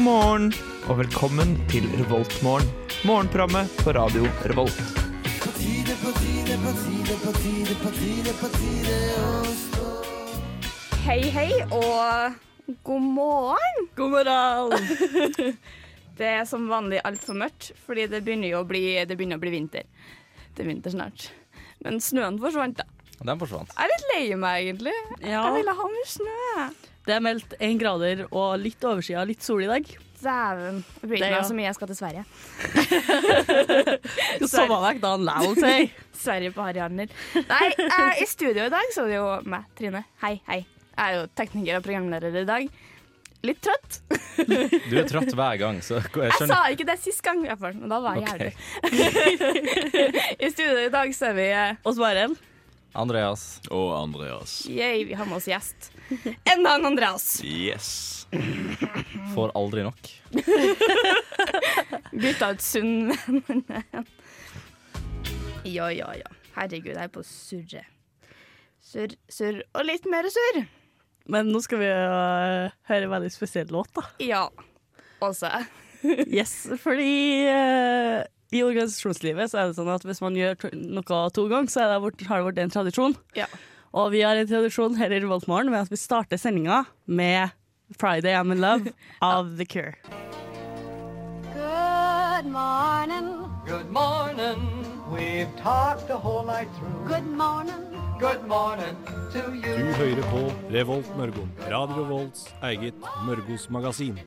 morgen og velkommen til Revoltmorgen. Morgenprogrammet på radio Revolt. Hei, hei, og god morgen. God morgen! Det er som vanlig altfor mørkt, fordi det begynner jo å bli, det begynner å bli vinter. Det er vinter snart. Men snøen forsvant, da. Den forsvant. Jeg er litt lei meg, egentlig. Ja, Jeg ville ha mer snø. det er meldt én grader og litt overskya, litt sol i dag. Dæven. Det blir Det, ikke ja. meg så mye jeg skal til Sverige. Sommervekk da, lal seg. Sverige på Harry Arner. Nei, eh, i studio i dag så er det jo meg, Trine. Hei, hei. Jeg er jo tekniker og programleder i dag. Litt trøtt. Du er trøtt hver gang, så jeg Jeg sa skjønner. ikke det sist gang, i hvert fall. Men da var jeg Ok. jævlig. I studio i dag så er vi eh, Og Maren. Altså- Andreas. Og Andreas. Yay, vi har med oss gjest. Enda en Andreas. Yes. Får aldri nok. Bytta ut Sund. ja, ja, ja. Herregud, jeg er på surre. Surr, surr og litt mer surr. Men nå skal vi øh, høre en veldig spesiell låt, da. Ja. Også. Yes, fordi øh, i organisasjonslivet så er det sånn at hvis man gjør t- noe to ganger, så er det vårt, har det vært en tradisjon. Ja. Og vi har en tradisjon her i Revoltmorgen ved at vi starter sendinga med 'Friday I'm in Love' av The Cure. Good morning. Good morning. We've talked the whole night through. Good morning. Good morning to you. Du hører på Revolt Mørgon. Radio Revolts eget Mørgos magasin.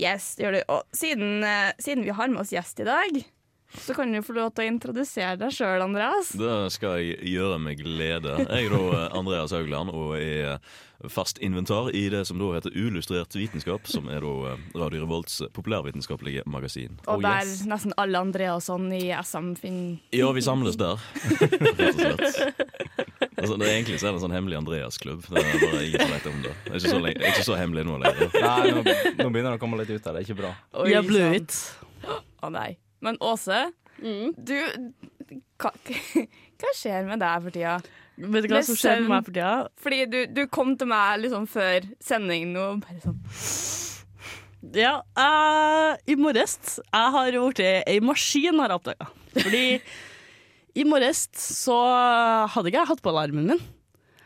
Yes, det gjør du. Og siden, eh, siden vi har med oss gjest i dag, så kan du få lov til å introdusere deg sjøl, Andreas. Det skal jeg gjøre med glede. Jeg er da eh, Andreas Haugland og er eh, fast inventar i det som da heter Uillustrert vitenskap, som er da eh, Radio Revolts populærvitenskapelige magasin. Og Oh, der yes. nesten alle Andreasson i SM Finn Ja, vi samles der, rett og slett. Altså, det er egentlig så er det en sånn hemmelig Andreas-klubb. Det er bare ingen som vet om det. Det er ikke så, lenge, det er ikke så hemmelig nå lenger. Nei, nå, nå begynner det å komme litt ut her. Det er ikke bra. Oi, Ja, Blue sann. It. Å nei. Men Åse, du hva, hva skjer med deg for tida? Vet du hva som skjer med meg for tida? Fordi du, du kom til meg liksom før sendingen nå, og bare sånn Ja, eh, i morges Jeg har vært ei maskin, har jeg oppdaga. Fordi i morges så hadde ikke jeg hatt på alarmen min.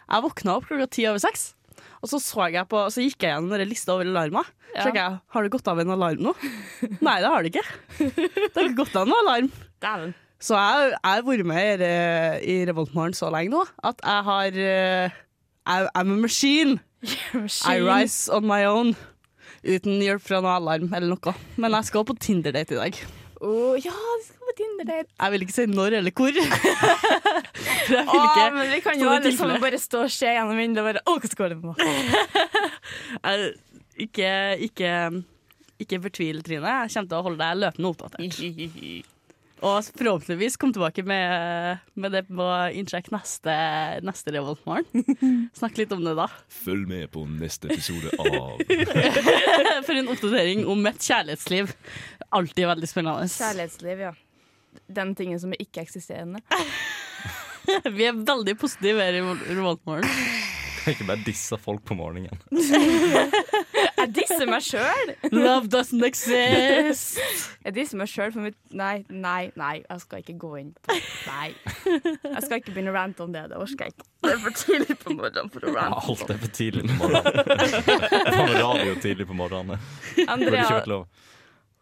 Jeg våkna opp klokka ti over seks. Og så, så, jeg på, så gikk jeg gjennom denne lista over alarmer. Ja. Så sjekket jeg, Har det gått av en alarm nå? Nei, det har det ikke. Det har ikke gått av noen alarm. Dæven. Så jeg jeg har vært med i, re- i Revoltmorgen så lenge nå at jeg har eh, jeg- I'm a machine. I rise on my own. Uten hjelp fra noe alarm eller noe. Men jeg skal på Tinder-date i dag. Å, ja, vi skal på Tinder der. Jeg vil ikke si når eller hvor. For jeg vil Å, ikke men vi kan jo Sånne alle sammen tilfeller. bare stå og se gjennom vinduet og bare Å, hva skal det på? jeg, Ikke, ikke, ikke fortvil, Trine. Jeg kommer til å holde deg løpende oppdatert. Og forhåpentligvis komme tilbake med, med det på innsjekk neste, neste Revoltmorgen. Snakke litt om det da. Følg med på neste episode av For en oppdatering om mitt kjærlighetsliv. Alltid veldig spennende. Kjærlighetsliv, ja. Den tingen som er ikke-eksisterende. Vi er veldig positive her i Revoltmorgen. Kan ikke bare disse folk på morgenen. Jeg disser meg sjøl! Love doesn't exist! Jeg disser meg sjøl for mitt Nei, nei, nei. Jeg skal ikke gå inn på Nei. Jeg skal ikke begynne å rante om det. Det orker jeg ikke. Det er for tidlig på morgenen for å rante. Alt er for tidlig på morgenen. Faen, radio tidlig på morgenen. Det burde ikke Andrea, vært lov.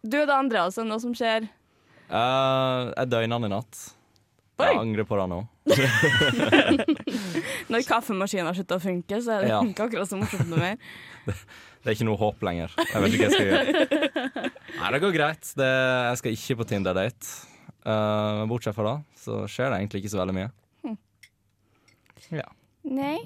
du da, Andreas, er det noe som skjer? Eh, jeg døgna den i natt. Oi. Jeg angrer på det nå. Når kaffemaskinen har slutta å funke, så er det Ja. ikke akkurat så morsomt noe mer. Det er ikke noe håp lenger. Jeg vet ikke hva jeg skal gjøre. Nei, det går greit. Det, jeg skal ikke på Tinder-date. Eh, Men bortsett fra det, så skjer det egentlig ikke så veldig mye. Ja. Nei.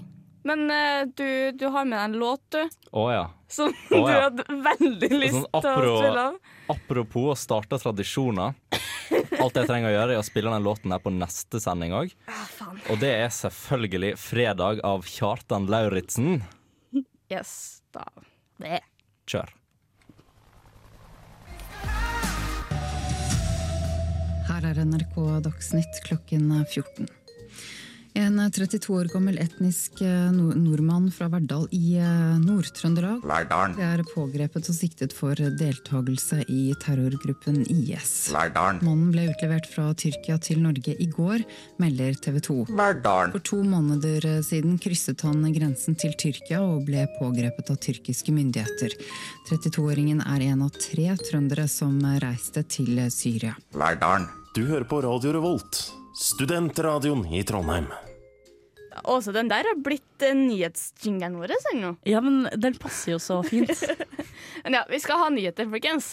Men eh, du, du har med deg en låt, du, Å ja. som Å, du ja. hadde veldig lyst Sånn til å apro- spille av. Apropos å starte tradisjoner. Alt jeg trenger å gjøre, er å spille den låten her på neste sending òg. Og det er selvfølgelig 'Fredag' av Kjartan Lauritzen. Yes, da. Kjør. Her er NRK Dagsnytt klokken 14. En eh, 32 år gammel etnisk eh, nor- nordmann fra Verdal i eh, Nord-Trøndelag Lærdalen, er pågrepet og siktet for deltakelse i terrorgruppen IS. Lærdalen, Mannen ble utlevert fra Tyrkia til Norge i går, melder TV 2. Lærdalen, For to måneder eh, siden krysset han grensen til Tyrkia og ble pågrepet av tyrkiske myndigheter. 32-åringen er en av tre trøndere som eh, reiste til Syria. Lærdalen, Du hører på Radio Revolt, studentradioen i Trondheim. Også den der har blitt eh, nyhetsjingeren vår ennå. Ja, men den passer jo så fint. Men ja, vi skal ha nyheter, folkens.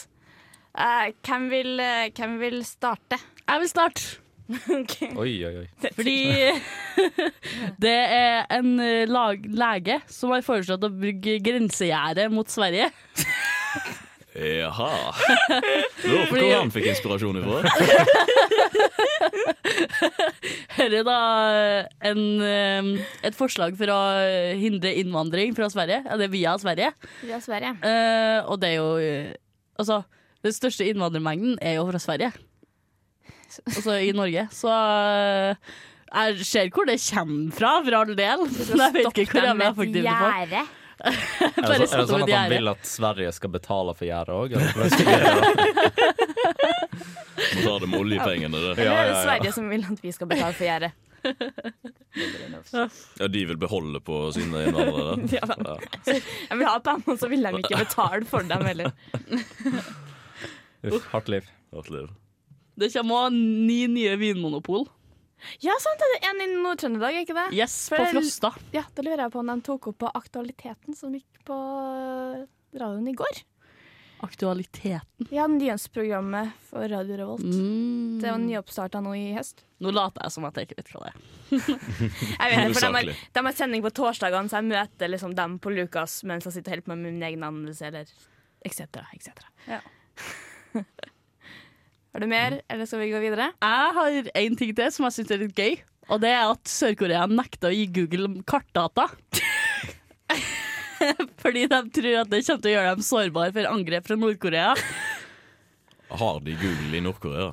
Eh, hvem, vil, eh, hvem vil starte? Jeg vil starte. Ok. Oi, oi, oi. Fordi det er en eh, lag, lege som har foreslått å bygge grensegjerde mot Sverige. Jaha. Lurer på hvor han fikk inspirasjon ifra. Her er da en, eh, et forslag for å eh, hindre innvandring fra Sverige, eller via Sverige. Vi har Sverige. Eh, og det er jo eh, Altså, den største innvandrermengden er jo fra Sverige. Altså i Norge. Så eh, jeg ser hvor det kommer fra, for all del. Men jeg vet ikke hvor jeg ble effektiv det for. gjerde. Er Bare det, så, er det satt over sånn at han gjerdet. vil at Sverige skal betale for gjerdet òg? Må ta det med oljepengene. Det. Eller Ja, ja, er det ja. Sverige som vil at vi skal betale for gjerdet? Ja, De vil beholde på sine innvandrere. Ja, da. Jeg vil ha pengene, så vil de ikke betale for dem heller. Uff, hardt liv. Hardt liv. Det kommer òg ni nye vinmonopol. Ja, sant, det er en i Nord-Trøndelag, er ikke det? Yes, For på det- Frosta. Ja, Da lurer jeg på om de tok opp på Aktualiteten som gikk på eh, radioen i går. Aktualitet. Ja, nyhetsprogrammet for Radio Revolt. Det var nyoppstarta nå i høst. Nå later jeg som at jeg ikke vet hva det er. Jeg vet, for de, Hovedsakelig. har, de har sending på torsdagene, så jeg møter liksom dem på Lukas mens jeg sitter og holder på med min egen anmeldelse, eller etc. etc. Ja. Har du mer, eller skal vi gå videre? Jeg har én ting til som jeg syns er litt gøy. Og det er at Sør-Korea nekter å gi Google kartdata. Fordi de tror at det kommer til å gjøre dem sårbare for angrep fra Nord-Korea. Har de Google i Nord-Korea?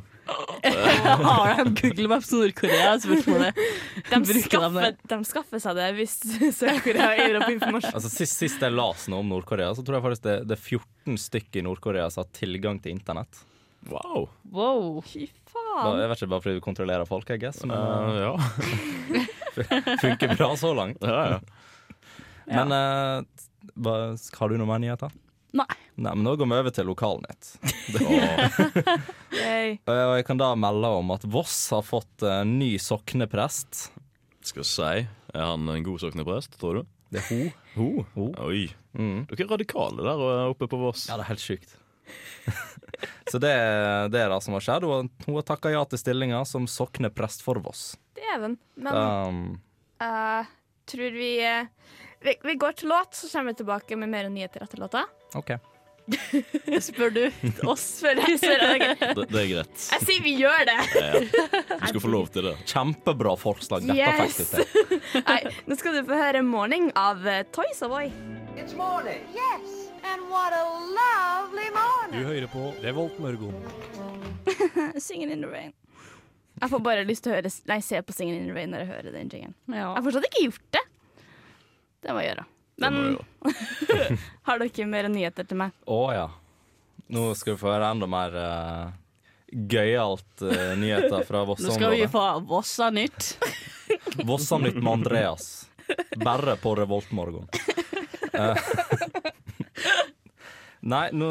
Har de Google Maps Nord-Korea? er Spørsmålet. De Bruker de skaffer, det? de skaffer seg det hvis Sør-Korea gir opp informasjon. Altså, sist, sist jeg las noe om Nord-Korea, så tror jeg faktisk det, det er 14 stykker i Nord-Korea som har tilgang til internett. Wow. Wow. Fy Bare- faen. Jeg vet ikke, bare fordi vi kontrollerer folk, I guess. Men Eh, ja. det funker bra så langt. ja, ja. Men eh, hva, har du noe mer nyheter? Nei. Nei, men nå går vi over til lokalnytt. Yay. Eh, Og jeg kan da melde om at Voss har fått eh, ny sokneprest. Skal si Er han en god sokneprest, tror du? Det er hun. Ho. Ho. Oi. Mm. Dere er radikale der eh, oppe på Voss. Ja, det er helt sjukt. Så det, er- det er det som har skjedd. Hun, har- hun har takka ja til stillinga som sokneprest for Voss. Dæven. Men Ah. Um, eh, tror vi, eh, vi Vi går til låt, så kommer vi tilbake med mer nyheter etter låta. OK. Spør du oss? Spør jeg, spør jeg. ok. Det, det er greit. Jeg sier vi gjør det! Du skal få lov til det. Kjempebra forslag. Dette Yes! fikk jeg til. Nei, nå skal du få høre 'Morning' av eh, Toys Avoy. It's morning. Yes, and what a lovely Du morning. hører på Revolt Mørgon. Singing in the rain. Jeg får bare lyst til å høre, nei, se på Singing in the rain når jeg hører den jingen. Ja. Jeg har fortsatt ikke gjort det. Det må jeg gjøre. Det Men må jeg gjøre. har dere mer nyheter til meg? Å ja. Nå skal du få høre enda mer uh, gøyalt eh, nyheter fra Nå skal vi Voss-området. få Vossa nytt. Vossanytt med Andreas. Bare på Revoltmorgen. Eh, Nei, nå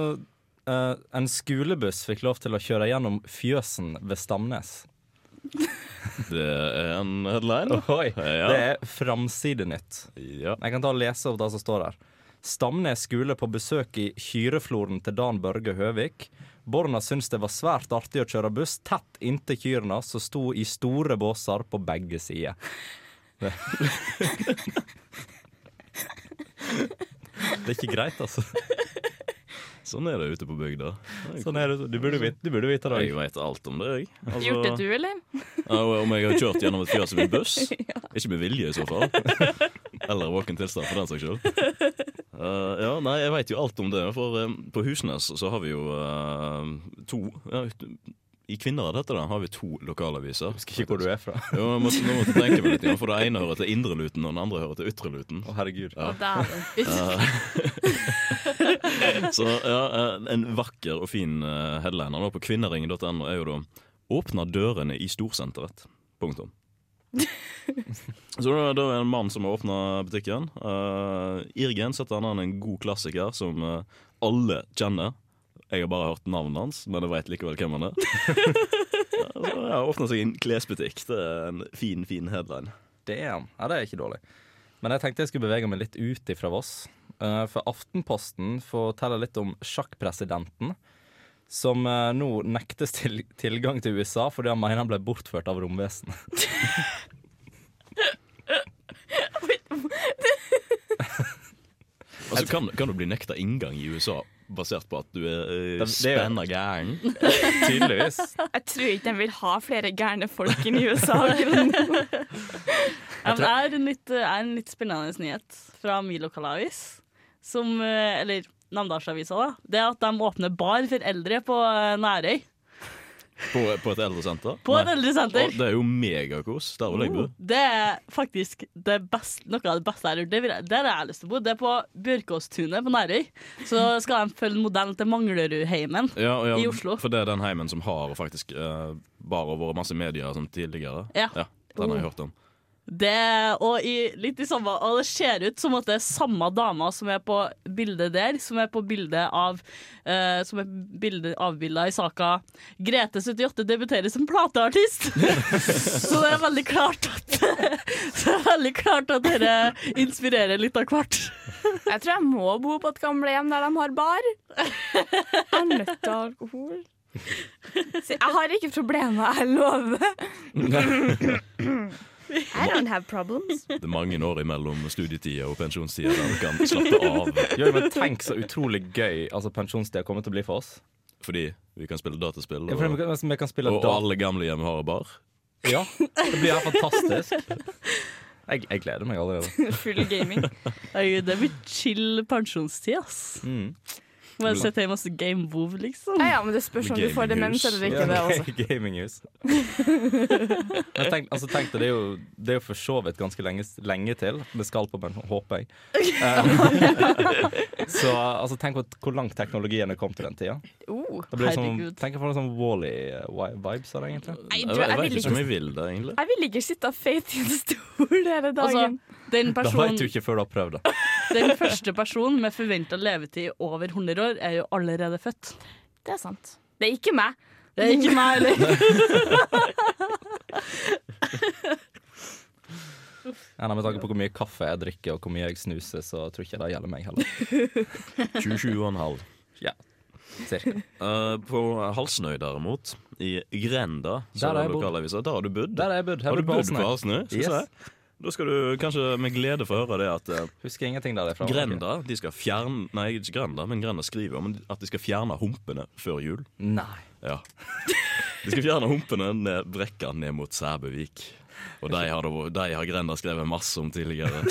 eh, En skolebuss fikk lov til å kjøre gjennom fjøsen ved Stamnes. Det er en headline. Oi, Ja. Det er framsidenytt. Ja. Jeg kan ta og lese opp det som står her. Stamnes skole på besøk i Kyrefloren til Dan Børge Høvik. Borna syns det var svært artig å kjøre buss tett inntil kyrne som sto i store båser på begge sider. Det Det er ikke greit, altså. Sånn er det ute på bygda. Sånn er det. Du burde vite, du burde vite det. Jeg veit alt om det, jeg. Altså, Gjort det du, eller? Ja, og Om jeg har kjørt gjennom et fjøs med buss? Ikke med vilje, i så fall. Eller våken tilstand, for den saks skyld. Eh, ja, nei, jeg veit jo alt om det, for eh, på Husnes så har vi jo eh, to ja, I Kvinner er dette da, har vi to lokalaviser. Husker ikke hvor du er fra. Jo, jeg måtte, nå måtte jeg tenke meg litt, igjen, for det ene hører til Indre Luten, og den andre hører til Ytre Luten. Å, herregud. Ja. Dæven. Så ja, eh, en vakker og fin eh, headliner da, på kvinneringen.no er jo da 'Åpna dørene i storsenteret'. Punktum. Så da, da er det en mann som har åpna butikken. Eh, Irgen setter han an en god klassiker som eh, alle kjenner. Jeg har bare hørt navnet hans, men jeg veit likevel hvem han er. Ja, Så ja, Åpna seg en klesbutikk. Det er en fin, fin headline. Damn. Ja, det er ikke dårlig. Men jeg tenkte jeg skulle bevege meg litt ut ifra Voss. Eh, For Aftenposten forteller litt om sjakkpresidenten, som eh, nå nektes til tilgang til USA fordi han mener han ble bortført av romvesenet. Altså, kan, kan du bli nekta inngang i USA basert på at du er uh, Det- det er jo- spenna gæren? Tydeligvis. Jeg tror ikke de vil ha flere gærne folk inn i USA. Eller? Ja, men det er en litt, er en litt spennende nyhet fra min lokalavis, som, eh, eller Namdalsavisa, da. Det er at de åpner bar for eldre på eh, Nærøy. På, på et eldresenter? På et Nei. eldresenter. Oh. Å, Det er jo megakos. Der vil jeg bo. Det er faktisk det best, noe av det beste jeg har gjort. Det vil jeg- Der har jeg lyst til å bo. Det er på Bjørkåstunet på Nærøy. Så skal de følge modellen til Manglerudheimen. Ja, og ja, I Oslo. For det er den heimen som har faktisk eh, bare vært masse medier som tidligere. Ja. Den har jeg hørt om. Det, og, i, litt i samme, og det ser ut som at det er samme dama som er på bildet der, som er på bildet av eh, Som er bildet, avbilda i saka 'Grete 78 debuterer som plateartist'. så det er veldig klart at Så det er veldig klart at dere inspirerer litt av hvert. Jeg tror jeg må bo på et gamlehjem der de har bar. Jeg er nødt til å ha alkohol. Så jeg har ikke problemer, jeg lover. I don't have problems. Det er mange år imellom studietida og pensjonstida der du kan slappe av Jo, men tenk så utrolig gøy altså, pensjonstida kommer til å bli for oss. fordi vi kan spille dataspill. Ja, for vi Og, kan, altså, vi kan spille og da- alle gamlehjem har bar. Ja, det blir helt fantastisk. Jeg, jeg gleder meg allerede. Full gaming. Oi, det blir chill pensjonstid, ass. Mm. Bare sitte hjemme og se Game Wove, liksom. Ja, ja, men det spørs om du får demens eller ikke. det altså. også. Gaminghus. Men tenk, altså, tenk deg, det, er jo, det er jo for så vidt ganske lenge, lenge til. Det skal på pensjon, håper jeg. Eh, så altså, tenk på hvor langt teknologien er kommet til den tida. Oh. Det blir som, Herregud. tenk på noen sånn Wally-vibes av det, egentlig. Nei, Jeg, du, vet- jeg, vil jeg vet ikke om ikke, jeg vil det, egentlig. jeg vil ikke sitte av feit i en stol hele dagen. Altså, den Det personen veit du ikke før du har prøvd det. Den første personen med forventa levetid over 100 år er jo allerede født. det er sant. Det er ikke meg. Det er ikke meg heller. Ja, nei, med tanke på hvor mye kaffe jeg drikker og hvor mye jeg snuser, så tror ikke det gjelder meg heller. 27,5. Ja, cirka. Eh, på Halsnøy, derimot, i Grenda, så Der har er jeg det bodd. lokalavisa. Der har du bodd. Der har jeg bodd. Jeg Har du på bodd Åsne. på Halsnøy? Skal vi se. Yes. Da skal du kanskje med glede få høre det at eh, Husker ingenting derifra. Grenda de skal fjerne Nei, ikke Grenda, men Grenda skriver om at de skal fjerne humpene før jul. Nei. Ja. De skal fjerne humpene ned brekka ned mot Sæbøvik. Og de har, det- de har Grenda skrevet masse om tidligere.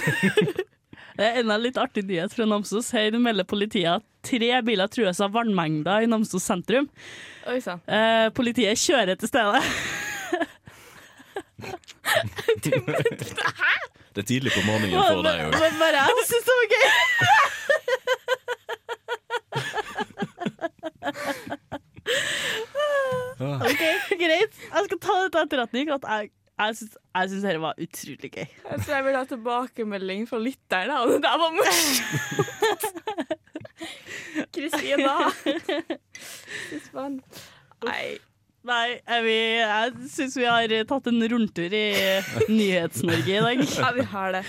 Det er enda en litt artig nyhet fra Namsos. Her melder politiet at tre biler trues av vannmengder i Namsos sentrum. Oi sann. Eh, politiet kjører til stedet. Det er tidlig på morgenen for Men, deg òg. men bare jeg syns det var gøy. OK, greit. Jeg skal ta det til etterretning at jeg, jeg syns jeg syns dette var utrolig gøy. Jeg tror jeg vil ha tilbakemelding fra lytteren. da. Det der var morsomt! Kristina! Fy faen. Nei. Nei, jeg, vil- jeg syns vi har tatt en rundtur i Nyhets-Norge i dag. Ja, vi har det.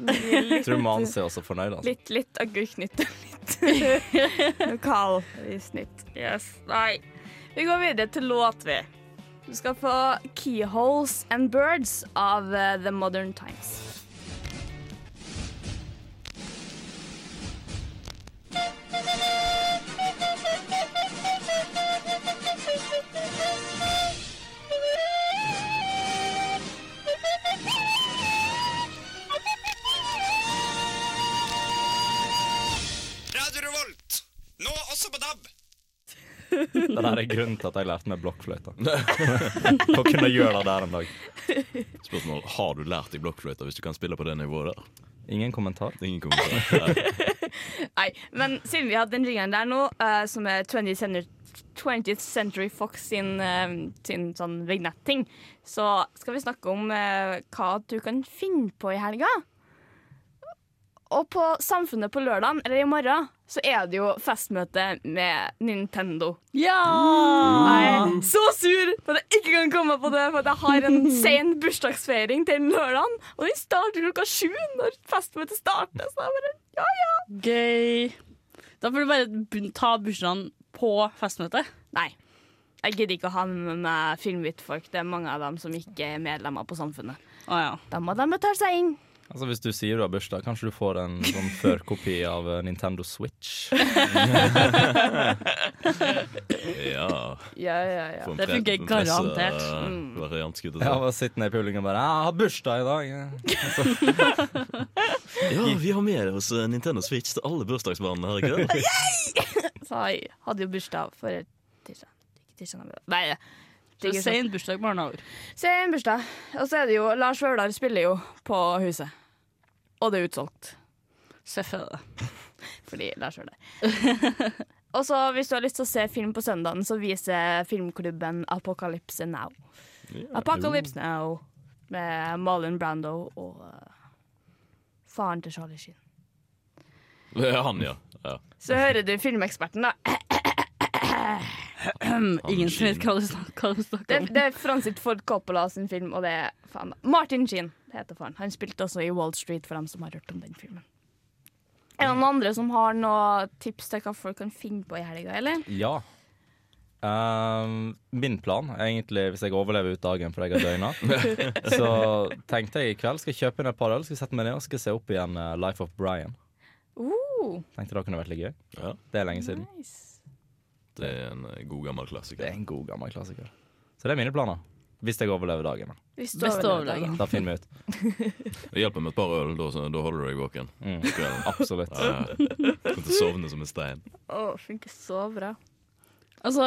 Litt, Tror du Mans er også fornøyd? Altså. litt, litt agurknytt og litt lokal i snitt. Yes. Nei. Vi går videre til låt, vi. Du skal få 'Keyholes and Birds' av eh, The Modern Times. Radio Revolt, nå også på DAB. Det Det der er grunnen til at jeg lærte meg blokkfløyta. For å kunne gjøre det der en dag. Spørsmål har du lært i blokkfløyta hvis du kan spille på det nivået der? Ingen kommentar. Ingen kommentar. Nei, men siden vi hadde den ringeren der nå, eh, som er 20th Century, 20th Century Fox sin, eh, sin sånn vignetting, så skal vi snakke om eh, hva du kan finne på i helga. Og på Samfunnet på lørdag, eller i morgen, så er det jo festmøte med Nintendo. Ja! Jeg er så sur på at jeg ikke kan komme på det, for at jeg har en sen bursdagsfeiring til lørdag, og den starter klokka sju når festmøtet starter. Så jeg bare ja, ja. Gøy. Da får du bare bun- ta bursdagen på festmøtet. Nei. Jeg gidder ikke å ha med meg filmhvittfolk. Det er mange av dem som ikke er medlemmer på Samfunnet. Da må de betale seg inn. Altså Hvis du sier du har bursdag, kanskje du får en sånn førkopi av eh, Nintendo Switch? ja. Ja, ja, ja. Få en Det pre- funker en presse- garantert. Variant, skulle jeg Jeg til å bare si. sitter ned i publikum og bare Jeg har bursdag i dag! Ja, vi har med oss eh, Nintendo Switch til alle bursdagsbarn her i kveld. Så jeg hadde jo bursdag for tirsdag. Ikke tirsdag, men- Nei, Det det er sen bursdag, barnehager. Sen bursdag. Og så er det jo Lars Vaular spiller jo på Huset. Og det er utsolgt. Selvfølgelig. Fordi Lars Vaular. Og så hvis du har lyst til å se film på søndagen, så viser filmklubben Apocalypse Now. Apocalypse Now med Marlon Brando og eh, faren til Charlie Sheen. Det er han, ja. ja. Så hører du filmeksperten, da. Ingen som vet hva du snak- hva du Det, snakker om. det er Francis Ford Coppola sin film, og det er faen da. Martin Sheen heter faren. Han spilte også i Wall Street, for dem som har hørt om den filmen. Er det noen andre som har noen tips til hva folk kan finne på i helga, eller? Ja. Ehm, min plan er egentlig, hvis jeg overlever ut dagen for jeg har døgna, så tenkte jeg i kveld skal jeg kjøpe inn et par øl, skal jeg sette meg ned og skal jeg se opp igjen eh, Life of Brian. Uh, Tenkte det kunne vært litt gøy. Ja. Det er lenge siden. nice. Det er en eh, god gammel klassiker. Det er en god gammel klassiker. Så det er mine planer. Hvis jeg overlever dagen. da. Hvis du Beste overlever dagen. overlegen. Da finner vi ut. Det hjelper med et par øl, da, så- da holder du deg våken. Mm. Kvelden. Absolutt. Ja, ja. Kommer til å sovne som en stein. Å, funker så bra. Altså,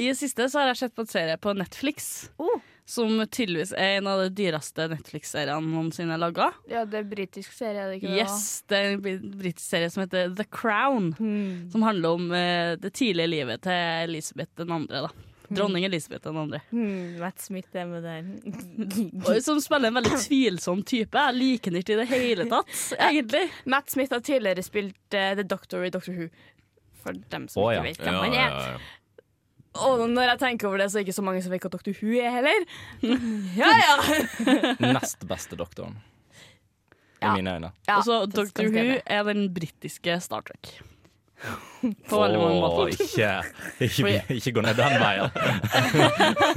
I det siste så har jeg sett på en serie på Netflix Oh. som tydeligvis er en av de dyreste Netflix-seriene noensinne er laga. Ja, det er britisk serie, er det ikke det? Yes, det er en bri- britisk serie som heter The Crown, Hmm. som handler om eh, det tidlige livet til Elisabeth den andre. da Dronning Elisabeth den andre. Hmm, Matt Smith er med der. Og Som spiller en veldig tvilsom type. Jeg liker den ikke i det hele tatt, egentlig. Matt Smith har tidligere spilt eh, The Doctor i Doctor Who. For dem som Å, ja. ikke vet hvem han er. Og når jeg tenker over det, så er det ikke så mange som vet hva Doctor Who er heller. Ja, ja. Nest beste doktoren. I Ja. mine øyne. ja Og så det skal Doctor jeg Who skrive. er den britiske Star Trek. På veldig mange Åh, måter. ikke, ikke, ikke gå ned den veien.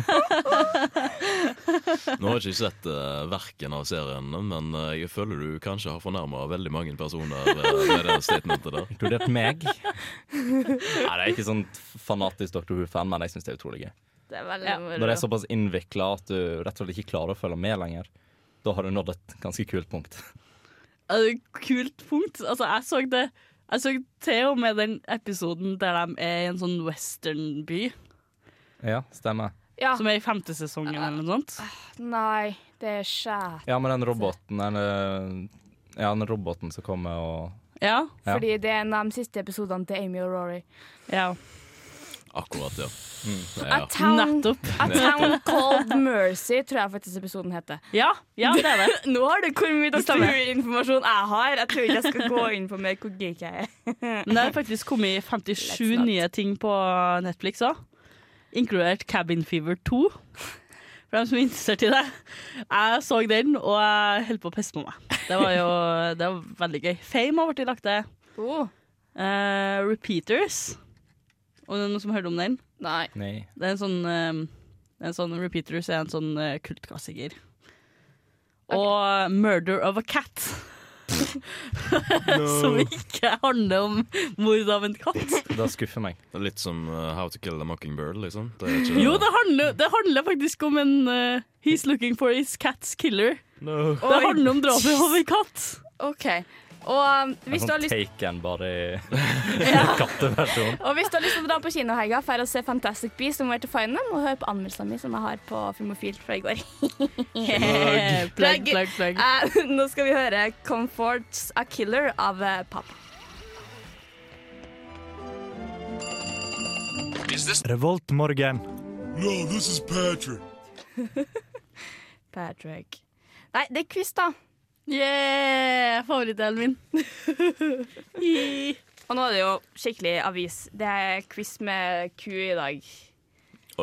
Nå har jeg ikke sett eh, verken av seriene, men eh, jeg føler du kanskje har fornærma veldig mange personer eh, med det statementet der. Inkludert meg. Nei, det er ikke sånn fanatisk Dr. Who-fan, men jeg syns det er utrolig gøy. Det er veldig Ja. moro. Når det er såpass innvikla at du rett og slett ikke klarer å følge med lenger, da har du nådd et ganske kult punkt. Er det et Kult punkt. Altså, jeg så det Jeg så til og med den episoden der de er i en sånn westernby, Ja, stemmer. Ja. som er i femte sesongen eller noe sånt. Nei, det er skjært. Ja, men den roboten den, øh, Ja, den roboten som kommer og Ja. Ja. Fordi det er en av de siste episodene til Amy og Rory. ja. Akkurat, ja. A ja. Town, Nettopp. A Town Called Mercy, tror jeg faktisk episoden heter. Ja, ja, det er det. Nå har du hvor mye Doctor stemmer. Who-informasjon jeg har. Jeg tror ikke jeg skal gå inn på mer hvor geek jeg er. Men det har faktisk kommet 57 Let's not. nye ting på Netflix òg. Inkludert Cabin Fever 2. For dem som er interessert i det. Jeg så den, og jeg holdt på å pisse på meg. Det var jo det var veldig gøy. Fame har blitt lagt til. Oh. Eh, repeaters. Om det er noen som hørte om den? Nei. Nei. Det er en sånn, eh, en sånn Repeaters er en sånn eh, kultklassiker. Og Murder of a Cat. Som ikke handler om mord av en katt. Det skuffer meg. Det er litt som eh, How to kill a mockingbird, liksom. Det er ikke Jo, det handler, det handler faktisk om en eh, He's looking for his cat's killer. Det handler om drapet av en katt. OK. Og um, Det er hvis du sånn har lyst Taken, bare i katteversjon. Og hvis du har lyst til å dra på kinohelga for å se Fantastic Beasts and Where to Find Them, og høre på anmeldelsene mine som jeg har på Filmofil fra i går. Plugg. Plugg, plugg, plugg. Eh, nå skal vi høre 'Comfort's A Killer' av eh, Papa. Revoltmorgen. No, this is Patrick. Patrick. Nei, det er quiz, da. Yeah! Eh, Favorittdelen min. og nå er det jo skikkelig avis. Det er quiz med ku i dag.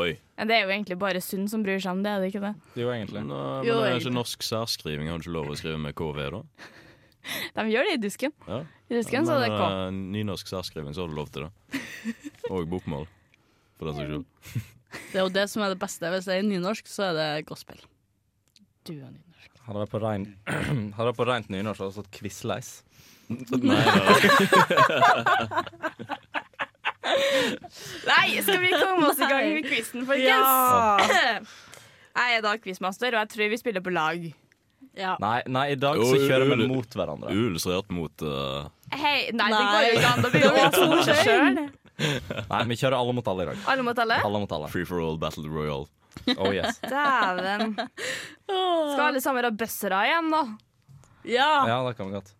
Oi. Men det er jo egentlig bare Sund som bryr seg om det, er det ikke det? Jo, egentlig. Nei, men Jo, det er egentlig. ikke norsk særskriving. Har du ikke lov å skrive med KV, da? De gjør det i dusken. Ja. I dusken så er det Men, K. eh, Nynorsk særskriving, så har du lov til det. Og bokmål, for den saks skyld. Det er jo det som er det beste. Hvis det er nynorsk, så er det gospel. Du er nynorsk. Hadde vært på rein Hadde vært på rent nynorsk, hadde det stått Quizleis. Nei, skal vi komme oss i gang med Nei. quizen, Ja. folkens? Jeg er da quizmaster, og jeg tror vi spiller på lag. Nei, nei, i dag så Jo, kjører vi ull- mot hverandre. altså Uillustrert mot eh, Hei, nei, det Nei. går jo ikke an. Da blir det To to skjønn. sjøl. Nei, vi kjører alle mot alle i dag. Alle mot alle? Alle mot alle. Free for all battle royal. Oh yes. Dæven. Skal alle sammen ha bøssere igjen, da? Ja! Ja, det kan vi godt.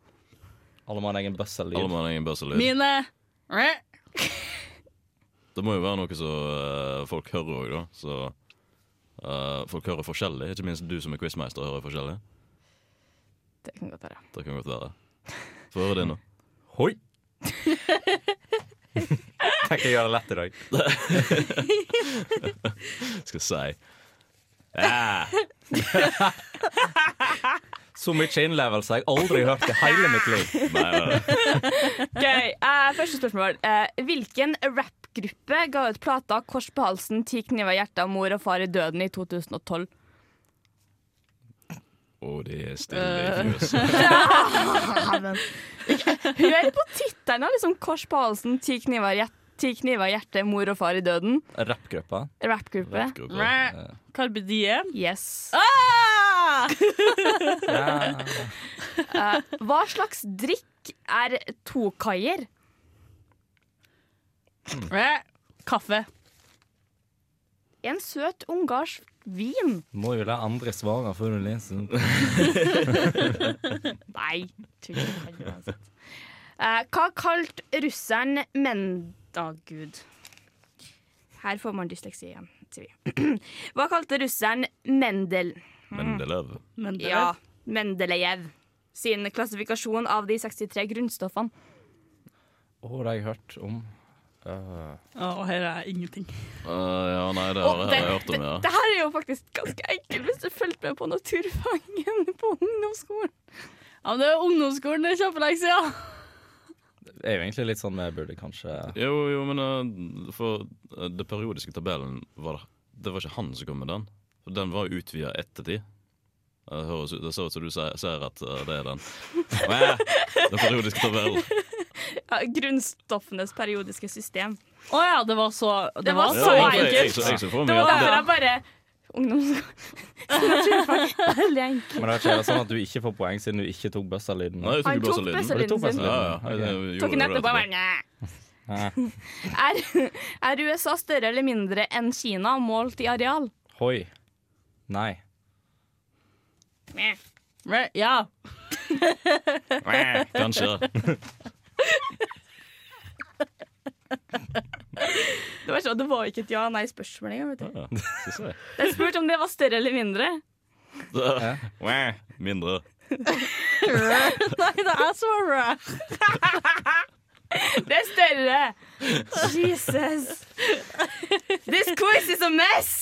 Alle må ha en egen bøssellyd. Alle mann egen bøsselyd. Mine Det må jo være noe som eh, folk hører òg, da. Så eh, folk hører forskjellig. Ikke minst du som er quizmeister, hører forskjellig. Det kan godt være. Det kan godt være. Få høre det nå. Hoi! Tenker jeg gjør det lett i dag. Skal jeg si Ja. Så mye innlevelse jeg aldri har hørt i hele mitt liv. Nei, nei, nei. Gøy. Eh, første spørsmål. Eh, hvilken rappgruppe ga ut plata 'Kors på halsen, ti kniver i hjertet, mor og far i døden' i 2012? Å, det er Eh, stille i fjøset. Hør på tittelen, da, liksom. 'Kors på halsen, ti kniver i hjertet'. Ti kniver i hjertet, mor og far i døden. Rappgruppa. Rappgruppe. Rappgruppa. Carpe Diem. Yes. Ah! Ja. Eh, hva slags drikk er tokaier? Kaffe. En søt ungarsk vin. Må jo la andre svare før du leser. Nei. tror ikke det kan uansett. Eh, hva kalte russeren menn... Å, gud. Her får man dysleksi igjen, sier vi. Hva kalte russeren Mendel... Mendelev. Men det Ja, Mendelejev sin klassifikasjon av de 63 grunnstoffene? Å, det har jeg hørt om. Øh. Å, her er ingenting. Eh, ja, nei, det Å, har jeg- det- jeg har hørt om, ja. Det her er jo faktisk ganske enkelt hvis du fulgte med på naturfagen på ungdomsskolen. Ja, men det er ungdomsskolen, det er kjempelenge siden. Det er jo egentlig litt sånn vi burde kanskje Jo, jo, men eh, for eh, det periodiske tabellen var Det var ikke han som kom med den. For Den var utvida ettertid. Eh, Det, høres, ut- det ser ut som du sier, sier at eh, det er den. Mæ, Den periodiske tabellen. Ja, grunnstoffenes periodiske system. Å ja, det var så Det, var Ja, så jeg- enkelt. Jeg, jeg, jeg, ser for Det meg var at derfor det- jeg bare Ungdomsskolen. Naturfag. Veldig enkelt. Men det er ikke sånn at du ikke får poeng siden du ikke tok bøssalyden? Nei, jeg Han tok tok bøsselyden. Og bøsselyden du tok sin. bøsselyden? Ja, ja, jeg, jeg, gjorde Tok den etterpå og bare «Næ». det er, er USA større eller mindre enn Kina målt i areal? Hoi. Nei. Meh. Re- Ja. Kanskje. Det var, sånn, det var ikke et ja-nei-spørsmål engang. vet du. Ja, skal se. Jeg spurte om det var større eller mindre. Det- Mæ, Mindre. Nei, det er så re. Det er større! Jesus. This quiz is a mess!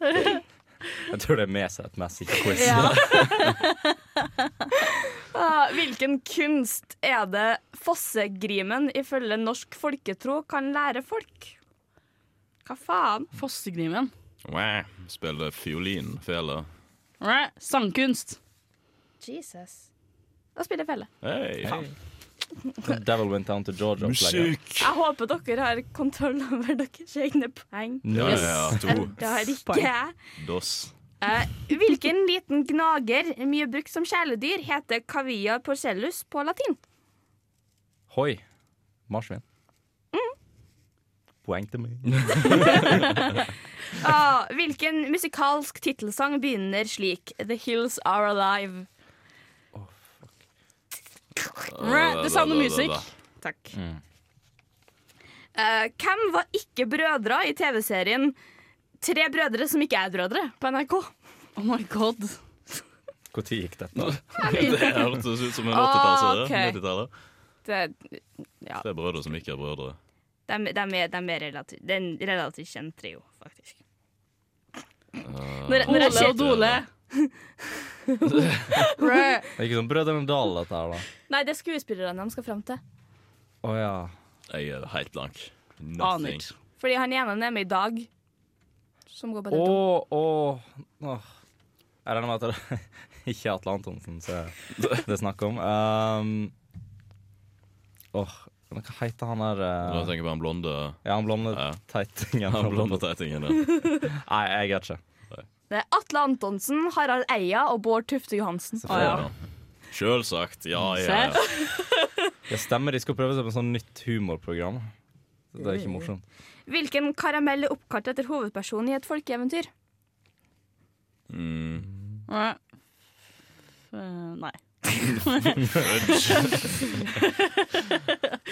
Jeg tror det er med seg et messy quiz. Ah, hvilken kunst er det fossegrimen ifølge norsk folketro kan lære folk? Hva faen? Fossegrimen. Mæ, Spiller fiolin, fele. Re. Sangkunst. Jesus. Da spiller jeg felle. Hei. The Devil went down to Georgia. opplegget. Jeg håper dere har kontroll over deres egne poeng. Ja, ja, ja. To. Det har ikke Poeng. jeg. Dos. Eh, hvilken liten gnager, mye brukt som kjæledyr, heter cavia porcellus på latin? Hoi. Marsvin. Poeng til meg. Ah, hvilken musikalsk tittelsang begynner slik? The Hills Are Alive. Mæ, The Sound of Music. Takk. Mm. Eh, hvem var ikke brødre i TV-serien Tre brødre som ikke er brødre på NRK? Oh my god. Når gikk dette? det hørtes ut som en Ah, 80-tallsserie. ok. 90-tallet. Det, ja, Tre brødre som ikke er brødre. de, de er, de er relativt, det er en relativt kjent trio, faktisk. Når, når jeg ser- Brø. Det er ikke sånn Brødrene Dal, dette her, da. Nei, det er skuespillerne de skal fram til. Å ja. Jeg er helt blank. Aner ikke. Fordi han ene er med i dag. Som går Å, på det. å åh. Jeg regner med at det ikke er Atle Antonsen så det er snakk om. Um, åh, men hva heter han der Nå eh, tenker jeg på han blonde Ja, han blonde teitingen. Han blonde teitingen, ja. Nei, jeg vet ikke. Det er Atle Antonsen, Harald Eia og Bård Tufte Johansen. ja. Sjølsagt. Ja, ja, ja. Det stemmer, de skal prøve seg på et sånn nytt humorprogram. Så Det er ikke morsomt. Hvilken karamell er oppkalt etter hovedpersonen i et folkeeventyr? Nei. Eh, Nei.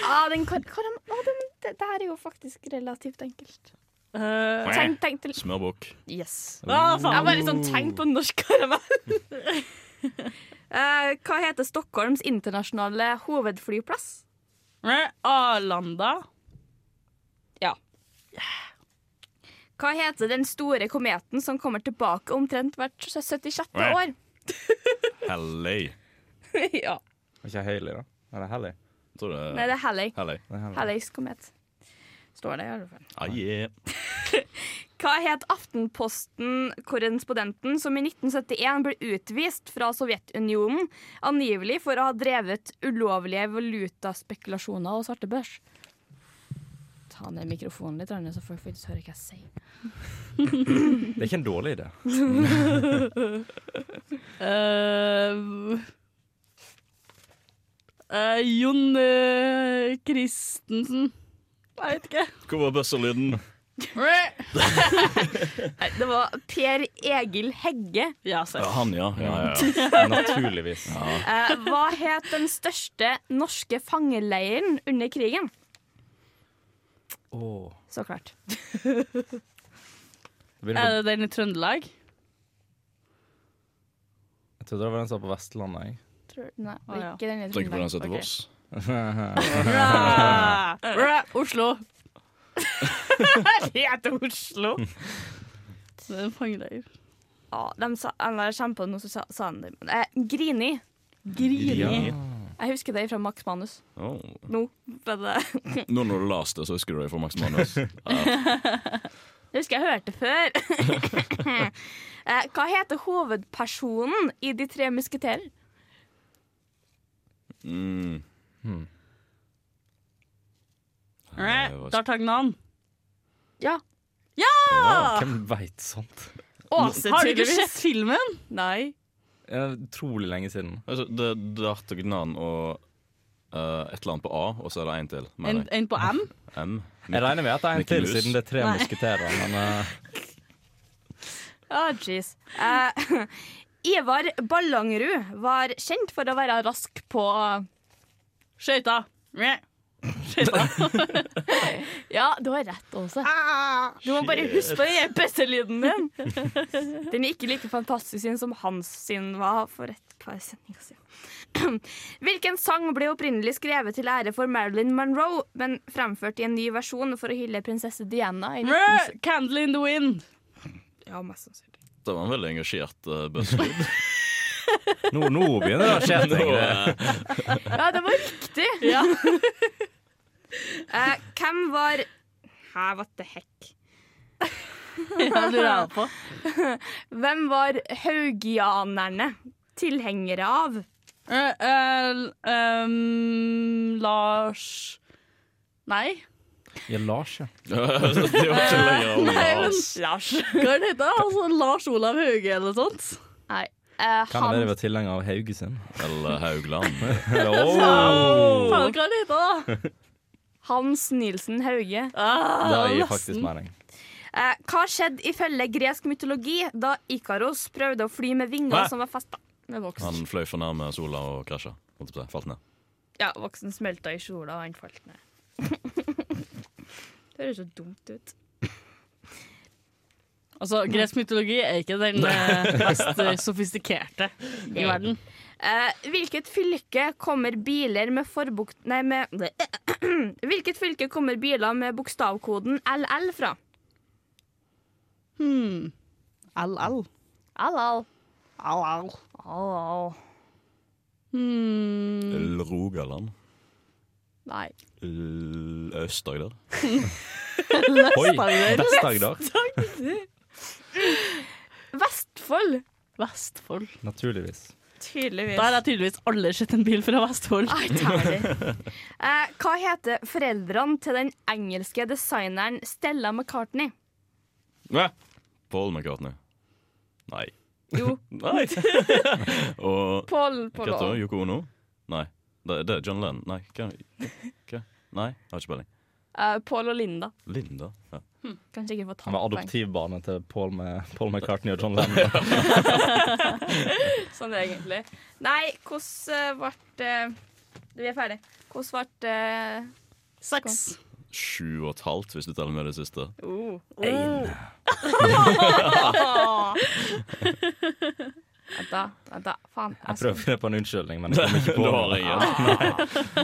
ah, den kar karam ah, den, det, det her er jo faktisk relativt enkelt. Eh, tenk, tenk til Smørbukk. Yes. Ah, faen. Jeg bare sånn tenk på norsk karamell. Eh, hva heter Stockholms internasjonale hovedflyplass? Arlanda. Ja. Hva heter den store kometen som kommer tilbake omtrent hvert 76. år? Halley. ja. Er ikke Haley, da? Er det Haley? Tror det Nei, det er Halley. Halley. Halleys komet. Står det i alle fall. Ah, yeah. Hva het Aftenposten-korrespondenten som i 1971 ble utvist fra Sovjetunionen, angivelig for å ha drevet ulovlige valutaspekulasjoner og svartebørs? Ta ned mikrofonen litt, Arne, så folk får ikke høre hva jeg Det er ikke en dårlig idé. sier. Eh, eh, Jon eh, Christensen. Jeg vet ikke. Hvor var buzzer-lyden? Nei, det var Per Egil Hegge. Ja, Ja, han, ja. ja, ja. Naturligvis. Ja. Eh, hva het den største norske fangeleiren under krigen? Åh. Så klart. Er det den i Trøndelag? Jeg trodde det var den som var på Vestlandet. Jeg. Tror, nei, Å, ja. ikke den i Tenker på den altså. Trøndelag. som heter Voss. Ok. Bra! Bra! Oslo. Eh. Det heter Oslo. Det er en fangeleir. Ja, de sa, han der kjempa på noe, så sa, sa han det. Men, Eh, Grini. Grini. Jeg husker det fra Max Manus. Oh. Nå. men, eh, Nå når du leste det, så husker du det fra Max Manus. Ja. Jeg husker jeg hørte før. Eh, Hva heter hovedpersonen i De tre musketerer? Mm. Eh, D'Artagnan. Ja. Wow, Ja! Hvem veit sånt? Åse, Har du ikke tydeligvis. sett filmen? Nei. Ja, Utrolig lenge siden. Altså, det er D'Artagnan og eh, et eller annet på A, og så er det en til. En, mener jeg. en på M? M. Jeg regner med at det er en Mikke til, Mus. siden det er tre Nei. musketerer. Men eh, Å, jeez. Eh, Ivar Ballangerud var kjent for å være rask på Skøyta. ja, du har rett, Åse. Du må bare shit. huske på den bøsselyden din. Den er ikke like fantastisk sin som hans sin var for et par sendinger siden. Hvilken sang ble opprinnelig skrevet til ære for Marilyn Monroe, men fremført i en ny versjon for å hylle prinsesse Diana? I 1970? Candle in the wind. ja, mest sannsynlig. Det var en veldig engasjert uh, buzzer-lyd. nå, nå begynner det å skje ting. Nå, det. Ja, det var riktig! Eh, hvem var Hæ, what the heck? Ja, det lurer jeg på. Hvem var haugianerne tilhengere av? Eh, eh, l- ehm, Lars Nei. Ja, Lars, ja. Det var ikke lenger om Nei, men Lars. Lars. Hva er det heter? Altså, Lars Olav Hauge eller noe sånt? Nei. eh, Kan det være vi var tilhenger av Haugesund? Eller Haugland. oh! Faen, hva er det heter da? Hans Nilsen Hauge. Det Ah, gir faktisk mening. Eh, hva skjedde ifølge gresk mytologi da Ikaros prøvde å fly med vinger Hva? som var festa med voksen? Han fløy for nærme sola og krasja. holdt jeg på å si. Falt ned. Ja, voksen smelta i kjola, og han falt ned. det høres så dumt ut. Altså, Gresk mytologi er ikke den eh, mest eh, sofistikerte i verden. Eh, hvilket fylke kommer biler med forbukt... Nei, med Hvilket fylke kommer biler med bokstavkoden LL fra? Hmm. LL. LL. LL. LL. Hmm. L- Rogaland. Mm. Nei. L- Øst-Agder. Vest-Agder. Vest-Agder. Vestfold. Vestfold. Naturligvis. Tydeligvis. Da har jeg tydeligvis aldri sett en bil fra Vestfold. Nei, Eh, hva heter foreldrene til den engelske designeren Stella McCartney? Nei. Paul McCartney. Nei. Jo. Nei. og Paul- Paul- Hva heter hun? Yoko Ono? Nei. Det, det er John Lennon. Nei, hva? hva? Nei, jeg har ikke peiling. Eh, Paul og Linda. Linda. Ja. Hm, kanskje ikke få tatt Han var poeng. adoptivbarnet til Paul, med, Paul McCartney og John Lennon. sånn det er egentlig. Nei, hvordan eh, ble Vi er ferdig. Hvordan eh, ble Seks. Sju og et halvt, hvis du teller med det siste. Oh. Ein. Vent, da. Vent, da. Faen. Jeg prøver å finne på en unnskyldning, men jeg kom ikke på Du har noe. ingen.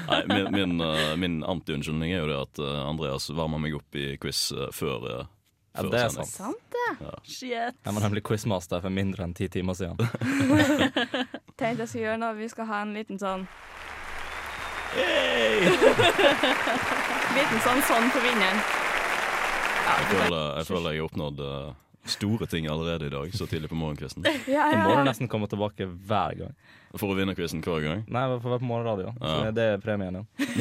Nei, min min, eh, min anti-unnskyldning er jo det at eh, Andreas varmer meg opp i quiz eh, før uh, Ja, det er sant. sånn. Sant det. Shit. Jeg var nemlig quizmaster for mindre enn ti timer siden. Tenkte jeg skulle gjøre noe. Vi skal ha en liten sånn Liten sånn sånn på vinneren. Jeg føler jeg, føler jeg har oppnådd eh, store ting allerede i dag, så tidlig på morgenkvisten. Ja, ja, Da må du ja. nesten komme tilbake hver gang. For å vinne quizen hver gang? Nei, for å være på morgenradio. Så Ja. Det er premien din.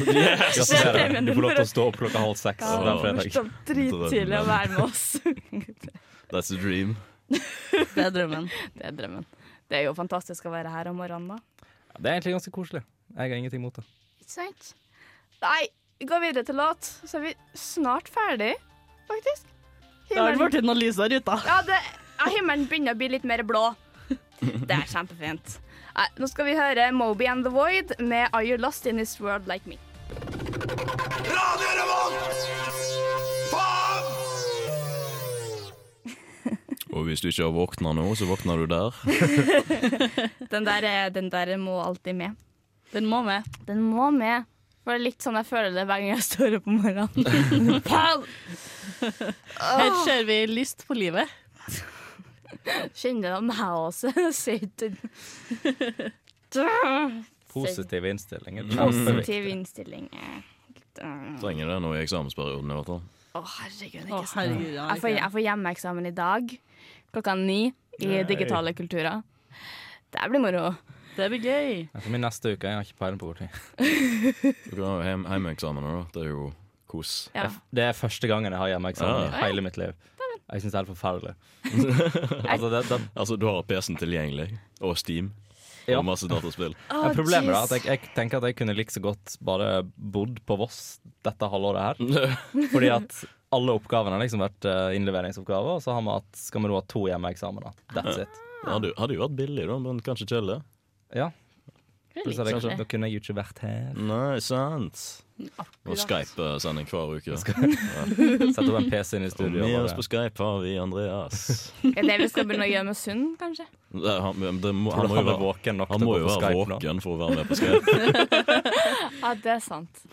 Gratulerer. Yes! Det er premien Du din får lov til for å- å stå opp klokka halv seks Ja, den du fredag. står opp drittidlig og være med oss. That's the dream. Det er drømmen. Det er drømmen. Det er jo fantastisk å være her om morgenen, da. Det er egentlig ganske koselig. Jeg har ingenting imot det. Ikke sant? Nei, vi går videre til låt, så er vi snart ferdig, faktisk. Da har det vært en analyse av ruta. Ja, det, ja, himmelen begynner å bli litt mer blå. Det er kjempefint. Nei, nå skal vi høre Moby and the Void med Are You Lost In This World Like Me. Radio Revolt! Faen! Og hvis du ikke har våkna nå, så våkner du der. Den der, er- den der må alltid med. Den må med. Den må med. For det er litt sånn jeg føler det hver gang jeg står opp om morgenen. Faen! Her ser vi lyst på livet. Kjenner det av meg også. Ser ikke- Positive innstillinger. Mm. Positiv innstilling. Eh, Å, Trenger det nå i eksamensperioden i hvert fall. herregud, Å, ikke sant. herregud, ja, Jeg får, ikke. jeg får hjemmeeksamen i dag klokka ni i Nei. digitale kulturer. Det blir moro. Det blir gøy. Ja, For min neste uke, jeg har ikke peiling på hvor tid. Dere har jo heim- heimeeksamener, da. Det er jo kos. Ja. Det er første gangen jeg har hjemmeeksamen Ja. i hele mitt liv. Jeg syns det er helt forferdelig. altså, du har PC-en tilgjengelig, og Steam, og masse dataspill. Men problemet er at jeg, jeg tenker at jeg kunne like så godt bare bodd på Voss dette halvåret her. Fordi at alle oppgavene har liksom vært eh, innleveringsoppgaver, og så har vi hatt, skal vi da ha to hjemmeeksamener. That's it. Det hadde, jo- hadde jo vært billig, da, men kanskje ikke det. Ja. Veldig Så hadde jeg- kjedelig. Da kunne jeg jo ikke vært her. Nei, sant. Og Skype-sending hver uke. Skype. Sette opp en PC inn i studio, Og med oss bare. på Skype har vi Andreas. Er det vi skal begynne å gjøre med Sund, kanskje? Det, han, men det må, Tror du han må han jo er være våken nok til å han må gå jo på være Skype nå? våken for å være med på Skype. Ja, det er sant.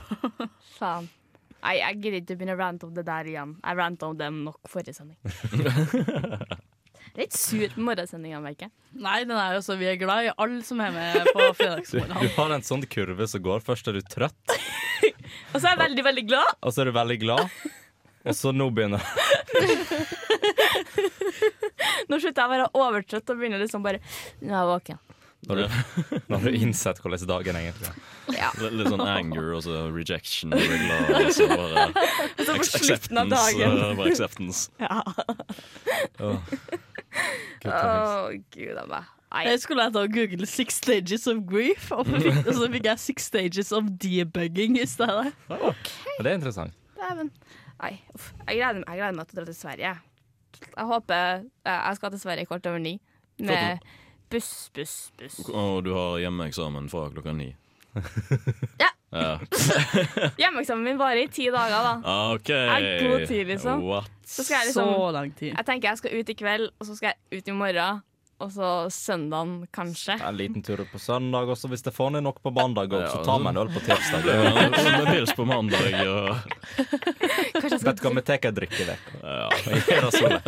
Faen. Nei, jeg gidder ikke å begynne å rante om det der igjen. Jeg rante om dem nok forrige sending. Litt sur på morgensendinga, merker jeg. Nei, den er jo så vi er glad i alle som er med på Du, du fredagsmorgen. har en sånn kurve som går. Først er du trøtt, Og så er jeg veldig, veldig glad. og så er du veldig glad, og så nå begynner Nå slutter jeg å være overtrøtt og begynner liksom bare Nå er jeg våken. Når du, når du innsetter hvordan dagen egentlig er. Ja. Litt, litt sånn anger og så rejection. Og glad, og så bare Og så på ac- slutten av acceptance, dagen. og Bare acceptance. Ja. Åh. Å, eh, gud a meg. Nei. Jeg skulle jeg ta og google 'six stages of grief', og, fikk, og så fikk jeg 'six stages of debugging' i stedet. Ja, Det er interessant. Dæven. Nei, uff. Jeg gleder, jeg gleder meg til å dra til Sverige. Jeg håper eh, Jeg skal til Sverige kvart over ni. Med buss, buss, buss. Og du har hjemmeeksamen fra klokka ni. Ja. Ja. Ah, Hjemmeeksamen min varer i ti dager, da. OK. Jeg er god tid, liksom. What? Så skal jeg liksom Så lang tid. Jeg tenker jeg skal ut i kveld, og så skal jeg ut i morgen. Og så søndagen, kanskje. En liten tur på søndag også, hvis det får ned nok på mandag. Og så Ja. tar vi en øl på tirsdag. Ja, Med pils på mandag og Vet du hva, vi tar en drikkeveke. Ja. Gjør det sånn. så lett.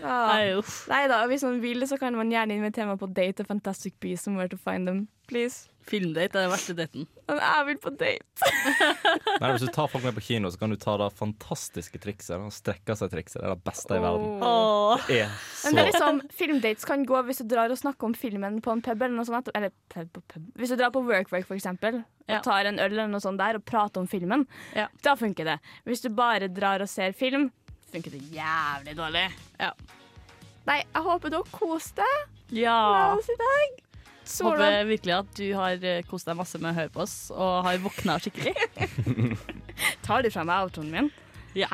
Ja. Nei da, hvis man vil, så kan man gjerne invitere meg på date til Fantastic Beasts Somewhere to find them. Please. Filmdate er den verste daten. Men jeg vil på date. Nei, Hvis du tar folk med på kino, så kan du ta det fantastiske trikset. da. Strekka-seg-trikset. Det er det beste i verden. Det er så Men det er liksom, Filmdates kan gå hvis du drar og snakker om filmen på en pub. eller noe sånt etterpå- Eller pub, på pub. Hvis du drar på Workwork for eksempel, og tar en øl eller noe sånt der og prater om filmen, da funker det. Hvis du bare drar og ser film, funker det jævlig dårlig. Nei, jeg håper du har kost deg Ja. med oss i dag. Håper Sola, virkelig at du har eh, kost deg masse med å høre på oss, og har våkna skikkelig. tar du fra meg outroen min? Herregud. Ja,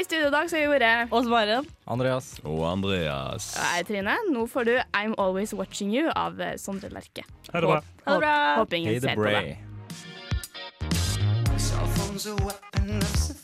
I studio i dag så har vi vært Åse Maren. Andreas. Og Andreas. Jeg er Trine. Nå får du I'm Always Watching You av eh, Sondre Lerche. Ha det bra. Håp- Håper ingen Hey, the ser på deg. Bray. Cell phones a weapon of